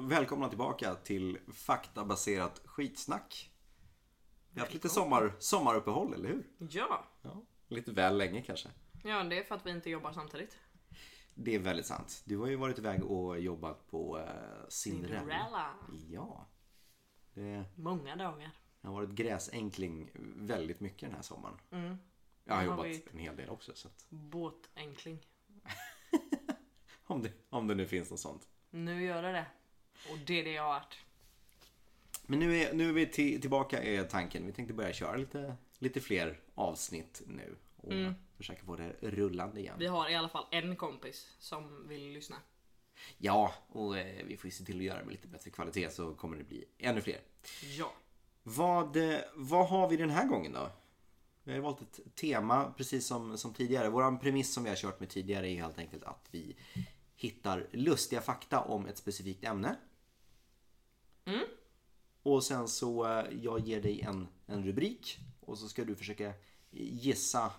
välkomna tillbaka till faktabaserat skitsnack. Vi har haft lite sommar, sommaruppehåll, eller hur? Ja. Ja. Lite väl länge kanske. ja, det är för att vi inte jobbar samtidigt. Det är väldigt sant. Du har ju varit iväg och jobbat på eh, Cinderella. Cinderella. Ja. Det Många dagar. har varit gräsänkling väldigt mycket den här sommaren. Jag Mm. har har jobbat vi- en hel del också. Så att, Båtänkling. om, det, om det nu finns något sånt. Nu gör det det. Och det är det jag har varit. Men nu är, nu är vi till, tillbaka är tanken. Vi tänkte börja köra lite, lite fler avsnitt nu. Och försöka få det rullande igen. Vi har i alla fall en kompis som vill lyssna. Ja, och eh, vi får ju se till att göra det med lite bättre kvalitet så kommer det bli ännu fler. Ja. Vad, eh, vad har vi den här gången då? Vi har ju valt ett tema precis som, som tidigare. Vår premiss som vi har kört med tidigare är helt enkelt att vi hittar lustiga fakta om ett specifikt ämne. Och sen så eh, jag ger dig en, en rubrik och så ska du försöka gissa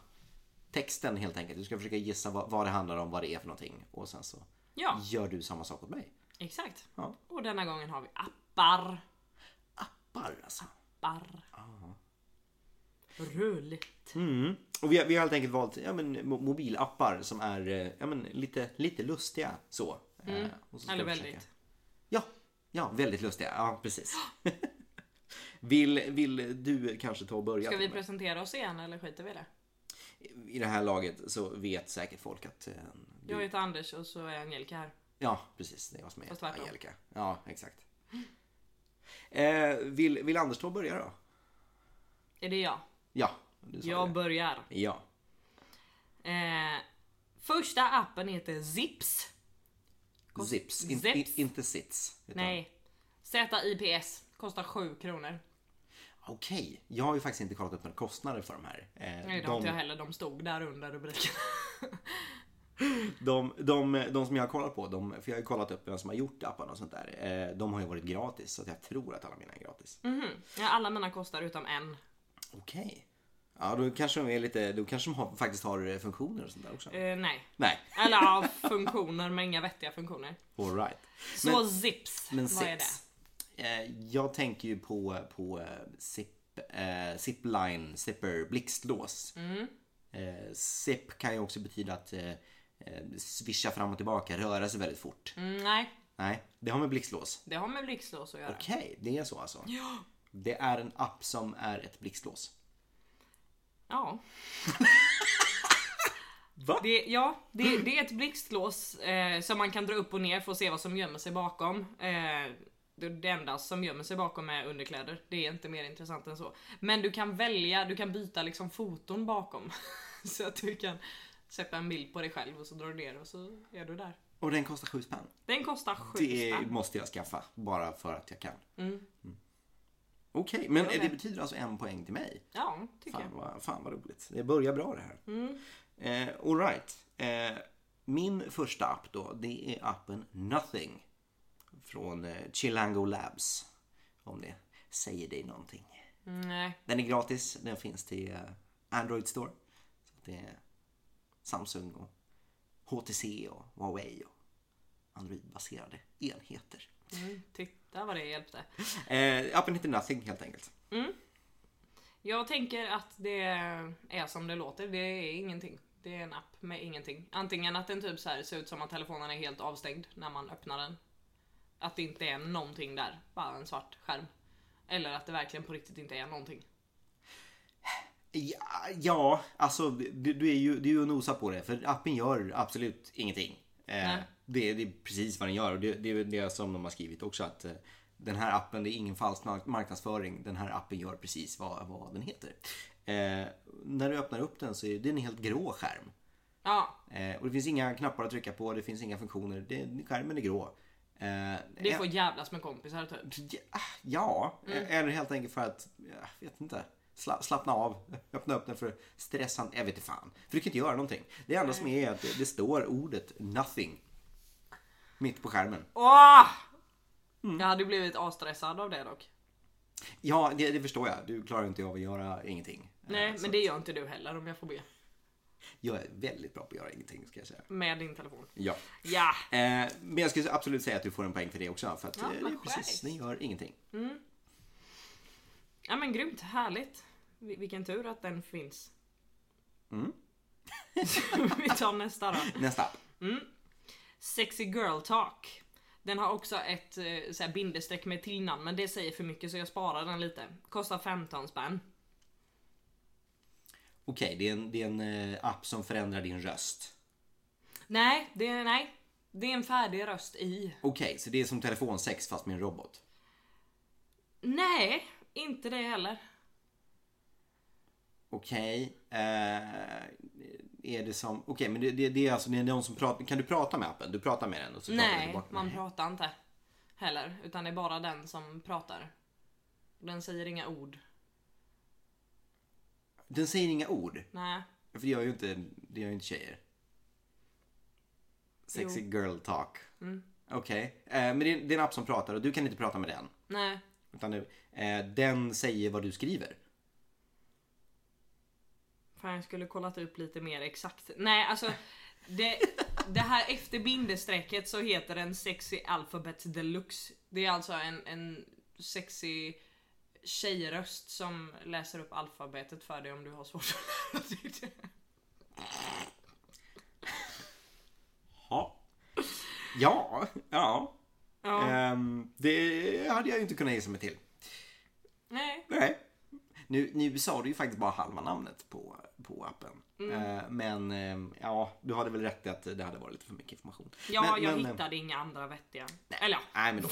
texten helt enkelt. Du ska försöka gissa vad, vad det handlar om, vad det är för någonting. Och sen så Ja. gör du samma sak åt mig. Exakt. Ja. Och denna gången har vi appar. Appar alltså. Barr. Rörligt. Ah. Mm. Och vi har, vi har helt enkelt valt ja, men, mo- mobilappar som är eh, ja, men, lite, lite lustiga så. Eh, och så ska Mm. Eller vi försöka- väldigt. Ja, ja, väldigt lustiga. Ja, precis. vill, vill du kanske ta och börja? Ska vi Tobbe? presentera oss igen eller skiter vi i det? I det här laget så vet säkert folk att... Eh, Jag heter Anders och så är Angelica här. Ja, precis. Det är jag som Fast är tvärtom. Angelica. Ja, exakt. Eh, vill, vill Anders ta och börja då? Är det jag? Ja, du sa Jag det. börjar. Ja. Eh, första appen heter Zips. Zips, in, in, Zips. inte sits. utan- Nej. ZIPS kostar 7 kronor. Okej, jag har ju faktiskt inte kollat upp några kostnader för de här. Eh, Nej, det har inte jag heller. De stod där under rubriken. de, de, de som jag har kollat på, de, för jag har ju kollat upp vem som har gjort apparna och sånt där. Eh, de har ju varit gratis, så att jag tror att alla mina är gratis. Mhm. Ja, alla mina kostar utom en. Okej. Ja, då kanske de är lite, då kanske de har, faktiskt har eh, funktioner och sånt där också. Eh, nej. Nej, Eller ja, funktioner men inga vettiga funktioner. alright. Så Zips, Men vad är det? zips. Eh, jag tänker ju på, på eh, zip, eh, zipline, zipper, blixtlås. Mm. Eh, zip kan ju också betyda att eh, eh, svischa fram och tillbaka, röra sig väldigt fort. Mm, nej, Nej, det har med blixtlås. det har med blixtlås att göra. Okej, det är så alltså. Det är en app som är ett blixtlås. Ja. Va? Det, ja, det, det är ett blixtlås eh, som man kan dra upp och ner för att se vad som gömmer sig bakom. Eh, det, det enda som gömmer sig bakom är underkläder. Det är inte mer intressant än så. Men du kan välja, du kan byta liksom foton bakom. så att du kan sätta en bild på dig själv och så drar du ner och så är du där. Och den kostar sju spänn. Den kostar sju Det spänn. måste jag skaffa, bara för att jag kan. Mm. Okej, men Okej. det betyder alltså en poäng till mig. Ja, tycker Fan vad, fan vad roligt. Det börjar bra det här. Mm. Eh, Alright. Eh, min första app då, det är appen Nothing. Från eh, Chilango Labs. Om det säger dig någonting. jag. Mm, Nej. Den är gratis. Den finns till eh, Android Store. Så att det är Samsung och HTC och Huawei och Android-baserade enheter. Mm, titta vad det hjälpte. Eh, appen heter Nothing helt enkelt. Jag tänker att det är som det låter, det är ingenting. Det är en app med ingenting. Antingen att den typ så här ser ut som att telefonen är helt avstängd när man öppnar den. Att det inte är någonting där, bara en svart skärm. Eller att det verkligen på riktigt inte är någonting. Ja, ja alltså du, du är ju du är ju och nosar på det för appen gör absolut ingenting. Eh, Nej. det, det är precis vad den gör och det, det är väl det som de har skrivit också att eh, den här appen, det är ingen falsk mark- marknadsföring. Den här appen gör precis vad, vad den heter. Eh, när du öppnar upp den så är det en helt grå skärm. Ja, Eh, och det finns inga knappar att trycka på, det finns inga funktioner. Det, skärmen är grå. Eh, det får jävlas med kompisar typ. Ja, ja. Mm. eller helt enkelt för att, jag vet inte, sla, slappna av, öppna upp den för stressan, jag vet inte fan. För du kan inte göra någonting. Det enda som är att det, det står ordet nothing mitt på skärmen. Åh! Jag hade blivit asstressad av det dock. Ja, det, det förstår jag. Du klarar inte av att göra ingenting. Nej, men det gör inte du heller om jag får be. Jag är väldigt bra på att göra ingenting ska jag säga. Med din telefon. Ja. Ja! Eh, men jag skulle absolut säga att du får en poäng för det också. För att Ja, eh, det vad är precis, skönt. ni gör ingenting. Ja men grymt, härligt. Vil- Vilken tur att den finns. Vi tar nästa då. Nästa app. Sexy Girl Talk. Den har också ett eh, så här, bindestreck med tillnamn men det säger för mycket så jag sparar den lite. Kostar 15 spänn. Okej, det är en, det är en eh, app som förändrar din röst. Nej, det är, nej. Det är en färdig röst i. Okej, så det är som telefonsex fast med en robot. Nej, inte det heller. Okej, eh, är det som... Okej, men det, det, det är alltså det är någon som pratar. Kan du prata med appen? Du pratar med den och så pratar du Nej, tillbaka. man pratar inte heller. Utan det är bara den som pratar. Den säger inga ord. Den säger inga ord. Nej. För det gör ju inte, det gör ju inte tjejer. Sexy girl talk. Mm. Okej, eh, men det är, det är en app som pratar och du kan inte prata med den. Nej. Utan det, eh, den säger vad du skriver. Fan jag skulle kollat upp lite mer exakt. Nej alltså det, det här efter bindestrecket så heter den Sexy Alphabet Deluxe. Det är alltså en, en sexy tjejröst som läser upp alfabetet för dig om du har svårt att lära dig det. Ja. Ja, ja. Ja, Ehm, det hade jag ju inte kunnat gissa mig till. nej. Nej. Nu, nu sa du ju faktiskt bara halva namnet på, på appen. Mm. Eh, men eh, ja, du hade väl rätt i att det hade varit lite för mycket information. Ja, men, jag men, eh, hittade inga andra vettiga. Eller ja, Nej, men då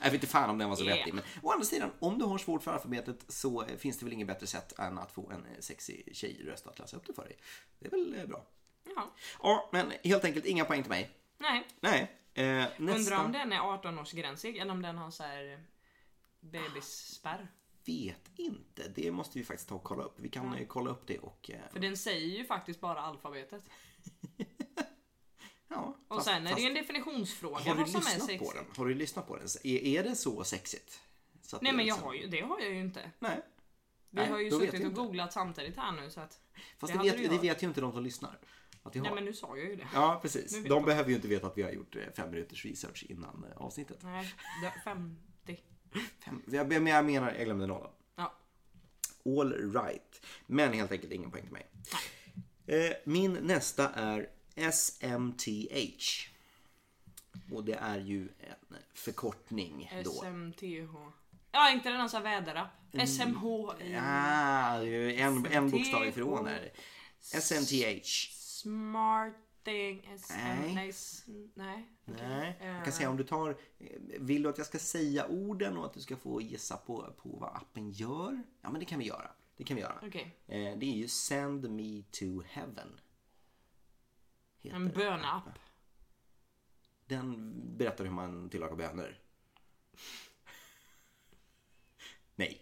Jag vet inte fan om den var så Yeah. vettig. Men å andra sidan, om du har svårt för alfabetet så eh, finns det väl inget bättre sätt än att få en eh, sexig tjejröst att läsa upp det för dig. Det är väl eh, bra. ja. Ja, men helt enkelt inga poäng till mig. Nej. Nej. Eh, nästa. Undrar om den är 18-årsgränsig eller om den har så här eh, bebisspärr. Vet inte. Det måste vi faktiskt ta och kolla upp. Vi kan eh, kolla upp det och... Eh, För den säger ju faktiskt bara alfabetet. ja, Och fast- sen är fast- det ju en definitionsfråga Har du vad som är lyssnat sexigt. på den? Har du lyssnat på den? Är, är det så sexigt? Så att Nej det men jag liksom- har ju, det har jag ju inte. Nej. Vi Nej, har ju då vet suttit jag och inte. googlat samtidigt här nu så att... Fast Det det, hade du vet, det gjort. vet ju inte de som lyssnar. Att vi har. Nej men nu sa jag ju det. Ja, precis. vet De de. behöver ju inte veta att vi har gjort eh, fem minuters research innan eh, avsnittet. Nej, det- 50. Fem. Jag, men jag menar, jag glömde nollan. Ja. All right. Men helt enkelt ingen poäng till mig. Eh, Min nästa är SMTH. Och det är ju en förkortning då. SMTH. Ja inte den alltså väderapp. Mm. SMH i Ah, det är ju en, en bokstav ifrån där. SMTH. smart thing. SM, Nej. nej. s- Nej. Nej, Eh. jag kan säga om du tar... eh, Vill du att jag ska säga orden och att du ska få gissa på, på vad appen gör? Ja, men det kan vi göra. Det kan vi göra. Okej. Eh, Det är ju Send Me To Heaven. Heter En den. böneapp. Den berättar hur man tillagar bönor. Nej,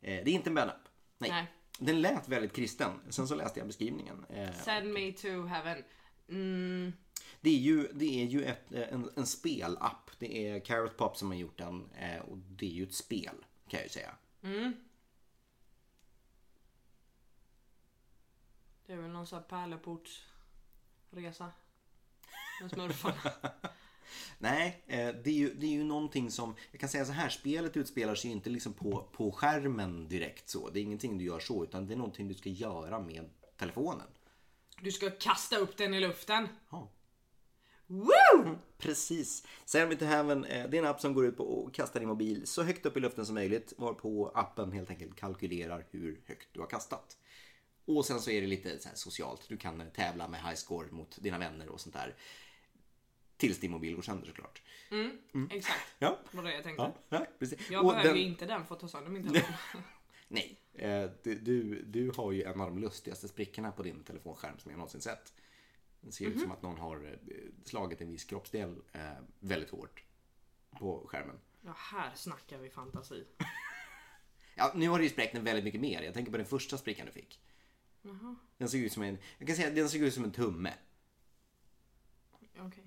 Eh, det är inte en bönapp. Nej. Nej. Den lät väldigt kristen. Sen så läste jag beskrivningen. Eh, Send me to heaven. Mm, Det är ju, det är ju ett, eh, en, en spelapp. Det är Carrot Pop som har gjort den eh, och det är ju ett spel kan jag ju säga. det är väl någon sån här pärleportsresa. Med smurfarna. Nej, eh, det är, ju, det är ju någonting som, jag kan säga så här, spelet utspelar sig ju inte liksom på, på skärmen direkt så. Det är ingenting du gör så utan det är någonting du ska göra med telefonen. Du ska kasta upp den i luften. Ja. Mm, Woo! Precis. Send me to heaven, eh, det är en app som går ut på att kasta din mobil så högt upp i luften som möjligt varpå appen helt enkelt kalkylerar hur högt du har kastat. Och sen så är det lite så här socialt. Du kan eh, tävla med high score mot dina vänner och sånt där. Tills din mobil går sönder såklart. Exakt. Ja, Vad det jag tänkte. mm. ja, ja precis. Jag Och behöver ju den- inte den för att ta sönder min telefon. Nej, eh, du, du, du har ju en av de lustigaste sprickorna på din telefonskärm som jag någonsin sett. Det ser Mhm. ut som att någon har eh, slagit en viss kroppsdel eh, väldigt hårt på skärmen. Ja, här snackar vi fantasi. Ja, nu har du ju spräckt den väldigt mycket mer. Jag tänker på den första sprickan du fick. Den såg ut som en, jag kan säga att den såg ut som en tumme. Okej.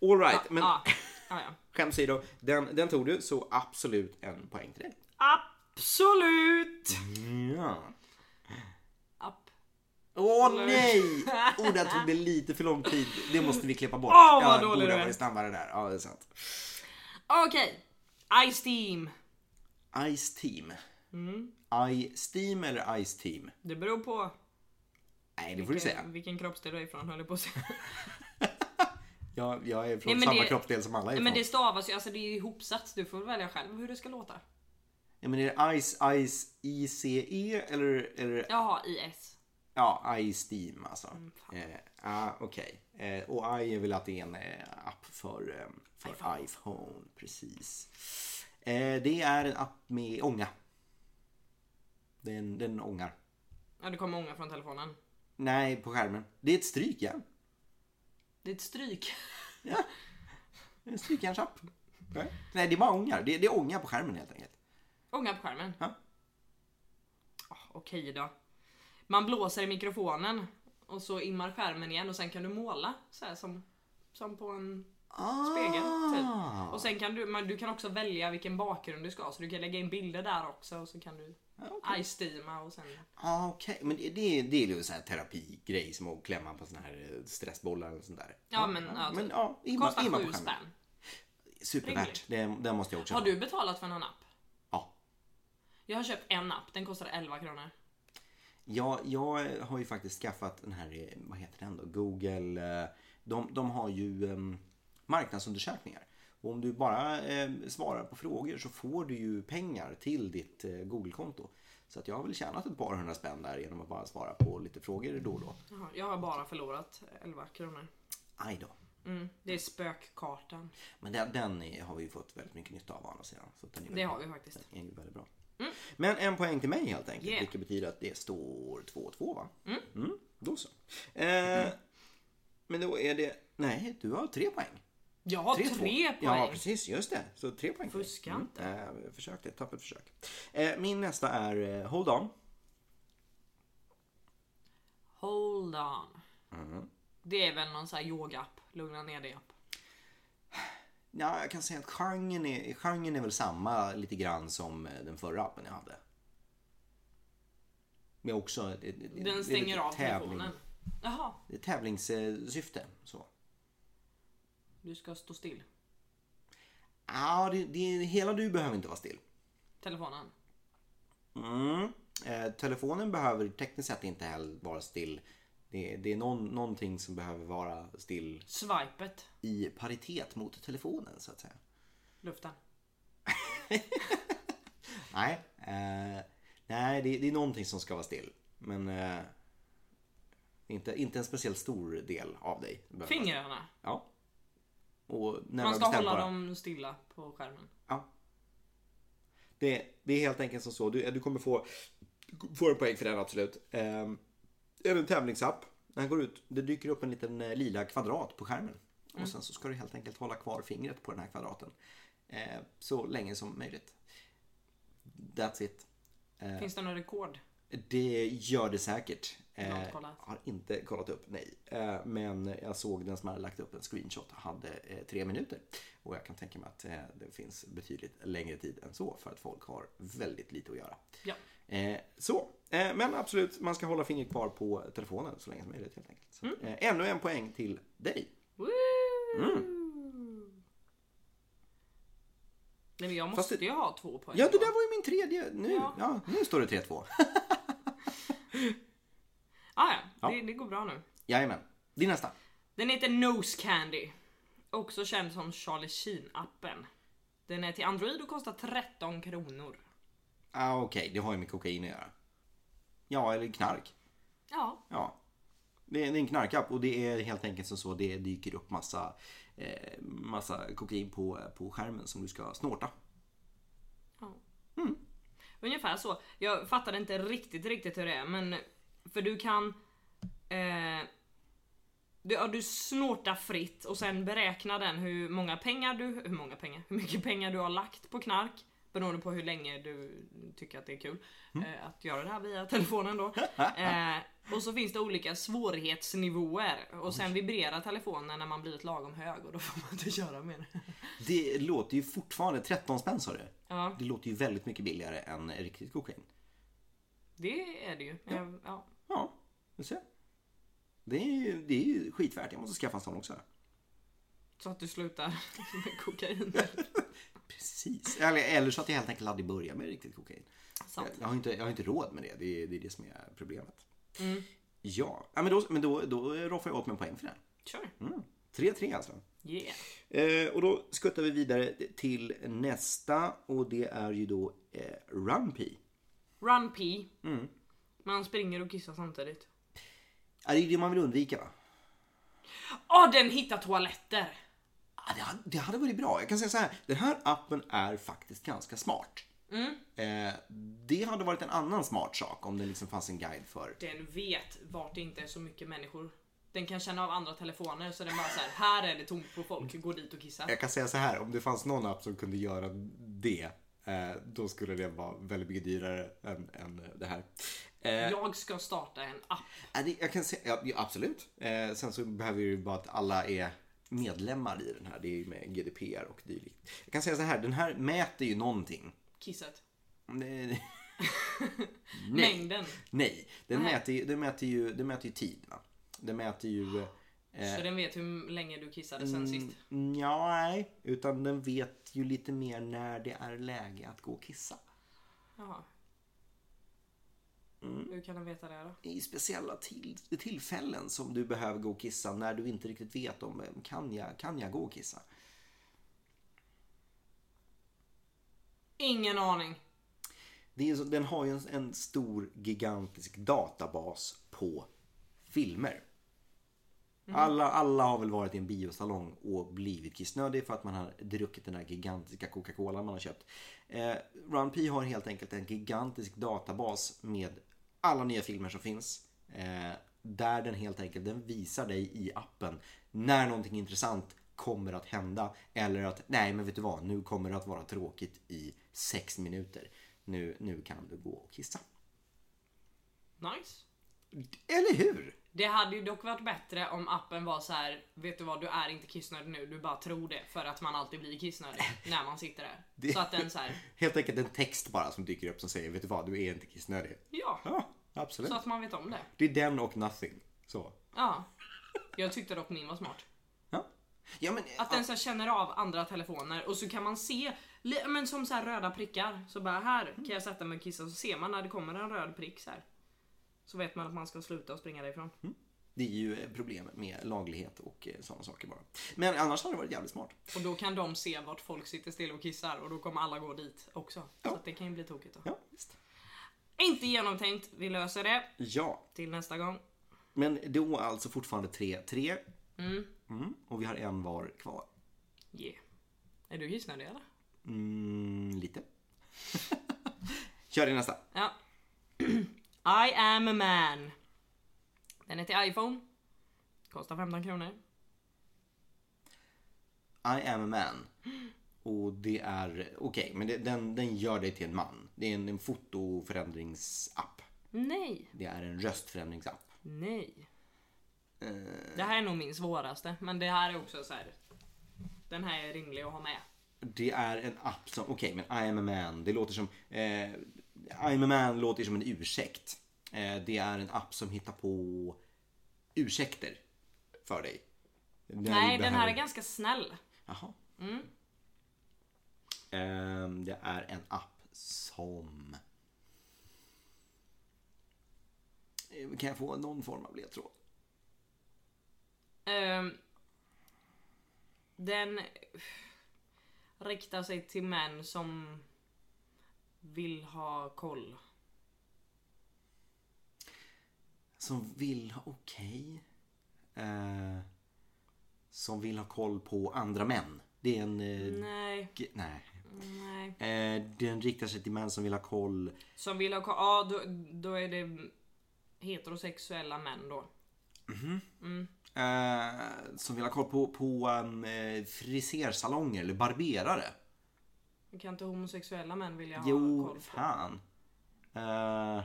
All right, men Ja, ja, ja. skämt åsido. Den, den tog du, så absolut en poäng till dig. Absolut! Ja. Absolut. Åh nej! Oh, där tog det lite för lång tid. Det måste vi klippa bort. Åh, vad ja, dålig borde du ha är. varit snabbare där. Ja, det är sant. Okej. Ice Team. Ice Team. Mm. Ice Team eller Ice Team? Det beror på Nej, det får du säga. vilken kroppsdel du är ifrån höll jag på att säga. Jag, jag är Nej, från men samma det- kroppsdel som alla är Nej, ifrån. Men det stavas ju, alltså det är ju ihopsatt. Du får välja själv hur det ska låta. Ja, men är det Ice, Ice, ICE eller, eller Jaha, IS. ja, Ice Team alltså? eh, ah, Okej. Eh, och I är väl att det är en eh, app för, eh, för iPhone. Precis. Eh, det är en app med ånga. Den, den ångar. Ja, det kommer ånga från telefonen. Nej, på skärmen. Det är ett strykjärn. Det är ett stryk. Ja. En strykjärnsapp. Nej, det är bara ångar. Det, det är ånga på skärmen helt enkelt. Ånga på skärmen. Ja. Ah, Okej då. Man blåser i mikrofonen och så immar skärmen igen och sen kan du måla så här som, som på en spegel. Ah. Typ. Och sen kan du, men du kan också välja vilken bakgrund du ska ha så du kan lägga in bilder där också och så kan du ice-steama och sen... Ja, okej. Men det, det, är- det är ju en sån här terapigrej som att klämma på såna här eh, stressbollar och sånt där. Ja, men, ja, men typ. ja, imma, Kostar imma sju på skärmen. spänn. Supervärt. Det, det måste jag också Har ha. du betalat för någon app? Ja. Jag har köpt en app, den kostar 11 kronor. Jag, jag eh, har ju faktiskt skaffat den här, eh, vad heter den då, Google. eh, De, de har ju eh, marknadsundersökningar. Och om du bara eh, svarar på frågor så får du ju pengar till ditt eh, Google-konto. Så att jag har väl tjänat ett par hundra spänn där genom att bara svara på lite frågor då och då. Jaha, Jag har bara förlorat 11 kronor. Aj då. Mm, det är spökkartan. Men den, den är- har vi ju fått väldigt mycket nytta av å andra sidan. Så att den är Det har vi faktiskt. är ju väldigt bra. Men en poäng till mig helt enkelt. Yeah. Vilket betyder att det står 2-2 va? Mm. då så. Eh, Men då är det... Nej, du har tre poäng. Jag har 3-2. tre Ja, poäng. precis. Just det. Så tre poäng. till dig. Fuska inte. Mm. Eh, försök det. Tappert försök. Eh, min nästa är eh, Hold On. Hold on. Mm. Det är väl någon sån här yoga-app, lugna ner dig-app. Ja, jag kan säga att genren är, genren är väl samma lite grann som eh, den förra appen jag hade. Men också... ett- ett- ett- det är Den lite stänger av tävling. telefonen. Jaha, Det är tävlingssyfte. Så. du ska stå still. Ja, det, det, hela du behöver inte vara still. Telefonen. Mm. Eh, telefonen behöver tekniskt sett inte heller vara still. Det, det är någon, någonting som behöver vara still Swipet. i paritet mot telefonen så att säga. Luften. Nej, eh, nej det, det är någonting som ska vara still. Men eh, inte, inte en speciellt stor del av dig. behöver vara still. Fingrarna. Ja. Och när Man man ska bestämt hålla bara, dem stilla på skärmen. Ja. Det, det är helt enkelt som så. Du, du kommer få, få en poäng för den absolut. Ehm, Det är en tävlingsapp. När han går ut, det dyker upp en liten eh, lila kvadrat på skärmen. Mm. Och sen så ska du helt enkelt hålla kvar fingret på den här kvadraten. eh, Så länge som möjligt. That's it. Eh. Finns det några rekord? Det gör det säkert. har Eh, inte kollat. har inte kollat upp, nej. Eh, men jag såg den som hade lagt upp en screenshot hade eh, tre minuter. Och jag kan tänka mig att eh, det finns betydligt längre tid än så för att folk har väldigt lite att göra. Ja. Eh, så, eh, men absolut, man ska hålla fingret kvar på telefonen så länge som möjligt helt enkelt. Så, Mm. eh, ännu en poäng till dig. Woo! Mm. Nej men jag måste Fast det- ju ha två poäng. Ja, det då. där var ju min tredje. Nu, ja. Ja. nu står det 3-2. Ah, ja, Det, det går bra nu. Jajamän, din nästa. Den heter Nose Candy. Också känd som Charlie Sheen-appen. Den är till Android och kostar 13 kronor. Ah, Okej, det har ju med kokain att göra. Ja, eller knark. Ja, Ja. Det är det är en knarkapp och det är helt enkelt som så det dyker upp massa, eh, massa kokain på, på skärmen som du ska snorta. ungefär så. Jag fattar inte riktigt, riktigt hur det är, men för du kan... Eh, du, ja, du snortar fritt och sen beräknar den hur många pengar du... Hur många pengar? Hur mycket pengar du har lagt på knark. Beroende på hur länge du tycker att det är kul eh, att göra det här via telefonen då. Eh, och så finns det olika svårighetsnivåer och sen vibrerar telefonen när man blivit lagom hög och då får man inte köra mer. Det låter ju fortfarande, 13 spänn sa du? Ja. Det låter ju väldigt mycket billigare än riktigt kokain. Det är det ju. Eh, Ja. Ja. Ja. Du ser. Det är, ju, det är ju skitvärt. Jag måste skaffa en sån också. Så att du slutar med kokain. Precis. Eller, eller så att jag helt enkelt aldrig börjar med riktigt kokain. Sant. Jag har, inte, jag har inte råd med det. Det är det, är det som är problemet. Ja, ja men, då, men då, då roffar jag åt mig en poäng för den. Kör. Mm. 3-3 alltså. Yeah. Eh, och då skuttar vi vidare till nästa och det är ju då eh, Rumpy. Run P. Mm. Man springer och kissar samtidigt. Ja, det är ju det man vill undvika va? Åh, Ah, den hittar toaletter! Ja, det, hade, det hade varit bra. Jag kan säga så här, den här appen är faktiskt ganska smart. Eh, det hade varit en annan smart sak om det liksom fanns en guide för. Den vet vart det inte är så mycket människor. Den kan känna av andra telefoner så den bara såhär, här är det tomt på folk, gå dit och kissa. Jag kan säga så här, om det fanns någon app som kunde göra det, eh, då skulle det vara väldigt mycket dyrare än, än det här. Eh, Jag ska starta en app. Ja, det- Jag kan säga, ja, ja, absolut. Eh, sen så behöver vi ju bara att alla är medlemmar i den här. Det är ju med GDPR och dylikt. Jag kan säga så här, den här mäter ju någonting. Kisset. Nej, Mängden. nej. Den, mäter, ju- den, mäter ju, den mäter ju tid. Va? Den mäter ju... Eh, Mm. Så den vet hur länge du kissade sen sist. ja, nej. Utan den vet ju lite mer när det är läge att gå och kissa. Jaha. Mm. Hur kan den veta det då? I speciella till, tillfällen som du behöver gå och kissa när du inte riktigt vet om eh, kan jag, kan jag gå och kissa. Ingen aning. Det är så, den har ju en, en stor gigantisk databas på filmer. Alla, alla har väl varit i en biosalong och blivit kissnödig för att man har druckit den här gigantiska Coca-Cola man har köpt. Eh, Run P har helt enkelt en gigantisk databas med alla nya filmer som finns. Eh, där den helt enkelt den visar dig i appen när någonting intressant kommer att hända. Eller att nej men vet du vad, nu kommer det att vara tråkigt i sex minuter. Nu, nu kan du gå och kissa. Nice. Eller hur? Det hade ju dock varit bättre om appen var så här. vet du vad, du är inte kissnödig nu, du bara tror det för att man alltid blir kissnödig när man sitter där. Det- Så att den så här, Helt enkelt en text bara som dyker upp som säger vet du vad, du är inte kissnödig. ja, Ja, absolut. så att man vet om det. Det är den och nothing. Så. Ja. Jag tyckte dock min var smart. Ja. Ja men, Att den så här känner av andra telefoner och så kan man se, li- men som så här röda prickar. Så bara här kan jag sätta mig och kissa så ser man när det kommer en röd prick så här. Så vet man att man ska sluta och springa därifrån. Mm. det är ju eh, problem med laglighet och eh, sådana saker bara. Men annars hade det varit jävligt smart. Och då kan de se vart folk sitter still och kissar och då kommer alla gå dit också. Så att det kan ju bli tokigt då. Ja, visst. Inte genomtänkt, vi löser det Ja, till nästa gång. men då alltså fortfarande 3-3. Mm, och vi har en var kvar. Yeah. Är du kissnödig eller? Mm, lite. Kör din nästa. Ja. I am a man. Den är till iPhone. Kostar 15 kronor. I am a man. Och det är, okej, men det, den, den gör dig till en man. Det är en, en fotoförändringsapp. Nej. Det är en röstförändringsapp. Nej. Eh. Det här är nog min svåraste, men det här är också så här. Den här är rimlig att ha med. Det är en app som, okej men I am a man, det låter som, eh, I am a man låter som en ursäkt. Eh, det är en app som hittar på ursäkter för dig. När du Nej, den behöver- här Mm. är ganska snäll. Jaha. Ehm, det är en app som... Eh, Kan jag få någon form av ledtråd? Ehm, den riktar sig till män som vill ha koll. Som vill ha... Okej. Eh, som vill ha koll på andra män. Det är en... eh, Nej, g- nej. nej. Eh, den riktar sig till män som vill ha koll. Som vill ha koll. Ja, då, då är det heterosexuella män då. Mm. Eh, som vill ha koll på, på um, frisersalonger eller barberare. Kan inte homosexuella män vilja ha Jo, koll? på? fan. Eh,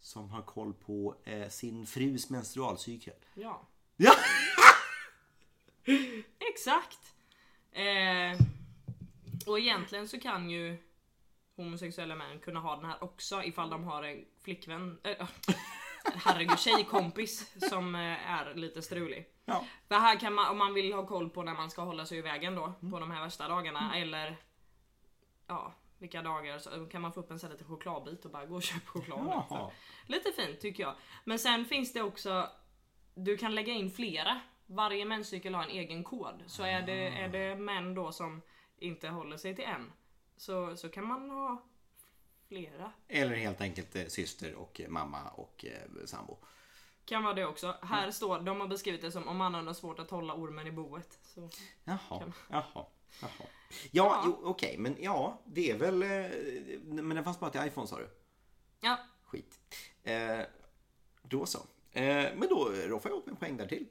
som har koll på eh, sin frus menstrualcykel. Ja, Ja! exakt. Eh, och egentligen så kan ju homosexuella män kunna ha den här också ifall de har en flickvän. Äh, herregud tjejkompis som eh, är lite strulig. Ja. För här kan man, om man vill ha koll på när man ska hålla sig i vägen då på de här värsta dagarna eller ja, vilka dagar så kan man få upp en sån här liten chokladbit och bara gå och köpa choklad. liksom. Jaha. Lite fint tycker jag. Men sen finns det också, du kan lägga in flera. Varje menscykel har en egen kod. Så är det, är det män då som inte håller sig till en så, så kan man ha flera. Eller helt enkelt eh, syster och eh, mamma och eh, sambo. Kan vara det också. Här står, de har beskrivit det som om mannen har svårt att hålla ormen i boet. Så. Jaha, jaha, jaha. Ja, ja. Jo, okej, men ja, det är väl... eh, Men den fanns bara till iPhone sa du? Ja, Skit. Eh, då så. Eh, men då roffar jag åt mig en poäng där till.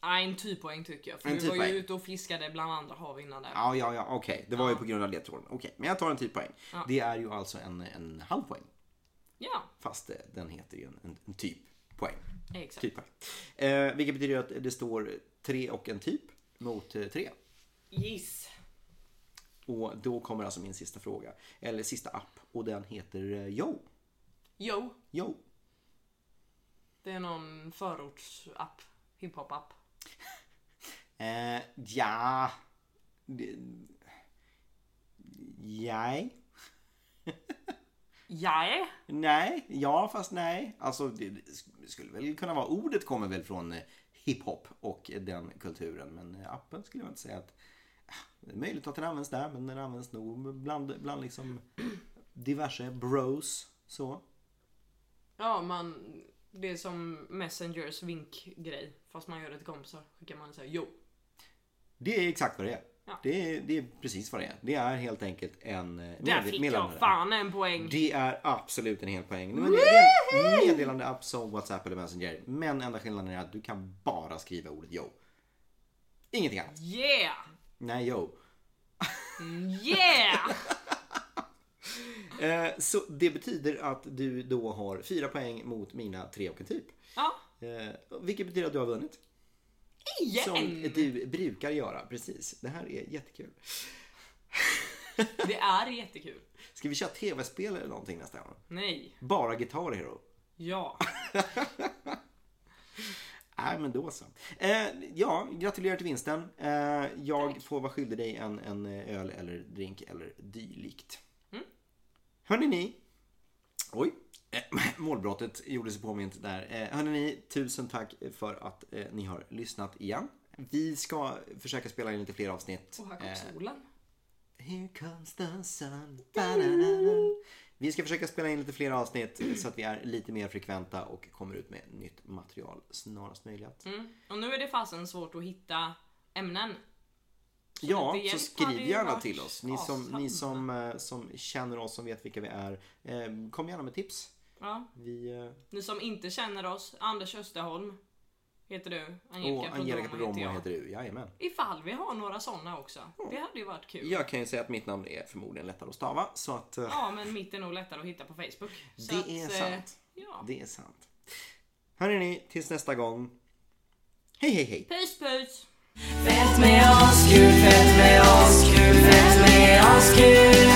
nej, en typoäng tycker jag. För En du var ju typoäng. ute och fiskade bland andra hav innan där. Ja, ja, ja, okej. Det var ju på grund av ledtråden. Okej, men jag tar en till poäng. Det är ju alltså en, en halv poäng. Ja, Fast eh, den heter ju en, en, en typ poäng. exakt. Typ poäng. Eh, vilket betyder ju att det står tre och en typ mot eh, tre. Giss. Och då kommer alltså min sista fråga. Eller sista app. Och den heter eh, Yo. Jo, Yo. det är någon förortsapp. Hiphop-app. Eh, ja. Det- Nej. Jaj. Nej. Ja, fast nej. Alltså, det det sk- skulle väl kunna vara. Ordet kommer väl från eh, hiphop och den kulturen. Men eh, appen skulle jag inte säga att... Ah, Det är möjligt att den används där, men den används nog bland, bland liksom diverse bros. Så. Ja, man... Det är som Messengers vinkgrej. Fast man gör det till kompisar. Skickar man så här, jo. Det är exakt vad det är. Ja. Det, är det är precis vad det är. Det är helt enkelt en eh, Där med- fick jag meddelande. fan en poäng. Det är absolut en hel poäng. Men det är en meddelande app som WhatsApp eller Messenger. Men enda skillnaden är att du kan bara skriva ordet yo. Ingenting annat. Yeah! Nej, yo. Yeah! Eh, så det betyder att du då har fyra poäng mot mina tre och en typ. Ja, Eh, vilket betyder att du har vunnit. igen! Som du brukar göra. Precis. Det här är jättekul. Det är jättekul. Ska vi köra tv-spel eller någonting nästa gång? Nej. Bara Guitar Hero. Ja. Nej, men då så. Eh, ja, gratulerar till vinsten. Eh, jag får vara skyldig dig en, en eh, öl eller drink eller dylikt. Mm. Hörni ni. Oj. Eh, målbrottet gjorde sig påmint där. Eh, hörni ni, tusen tack för att eh, ni har lyssnat igen. Vi ska försöka spela in lite fler avsnitt. Och här Eh, kom solen. Here comes the sun. Ba-da-da-da. Vi ska försöka spela in lite fler avsnitt så att vi är lite mer frekventa och kommer ut med nytt material snarast möjligt. Mm. Och nu är det fasen svårt att hitta ämnen. Ja, lite så hjälp hade skriv ju gärna varit till oss. Ni som, awesome. ni som, eh, som känner oss, som vet vilka vi är. eh, Kom gärna med tips. Ja. Vi, eh, Ni som inte känner oss, Anders Österholm heter du. och Angelica Perdomo Perdomo heter du. Jajamän. Ifall vi har några sådana också. Det hade ju varit kul. Jag kan ju säga att mitt namn är förmodligen lättare att stava. Så att eh, Ja, men mitt är nog lättare att hitta på Facebook. Så att, det är eh, sant. Ja. Det är sant. Hörrni, tills nästa gång. Hej, hej, hej. Puss puss! Fett med oss, kul, fett med oss, kul, fett med oss, kul.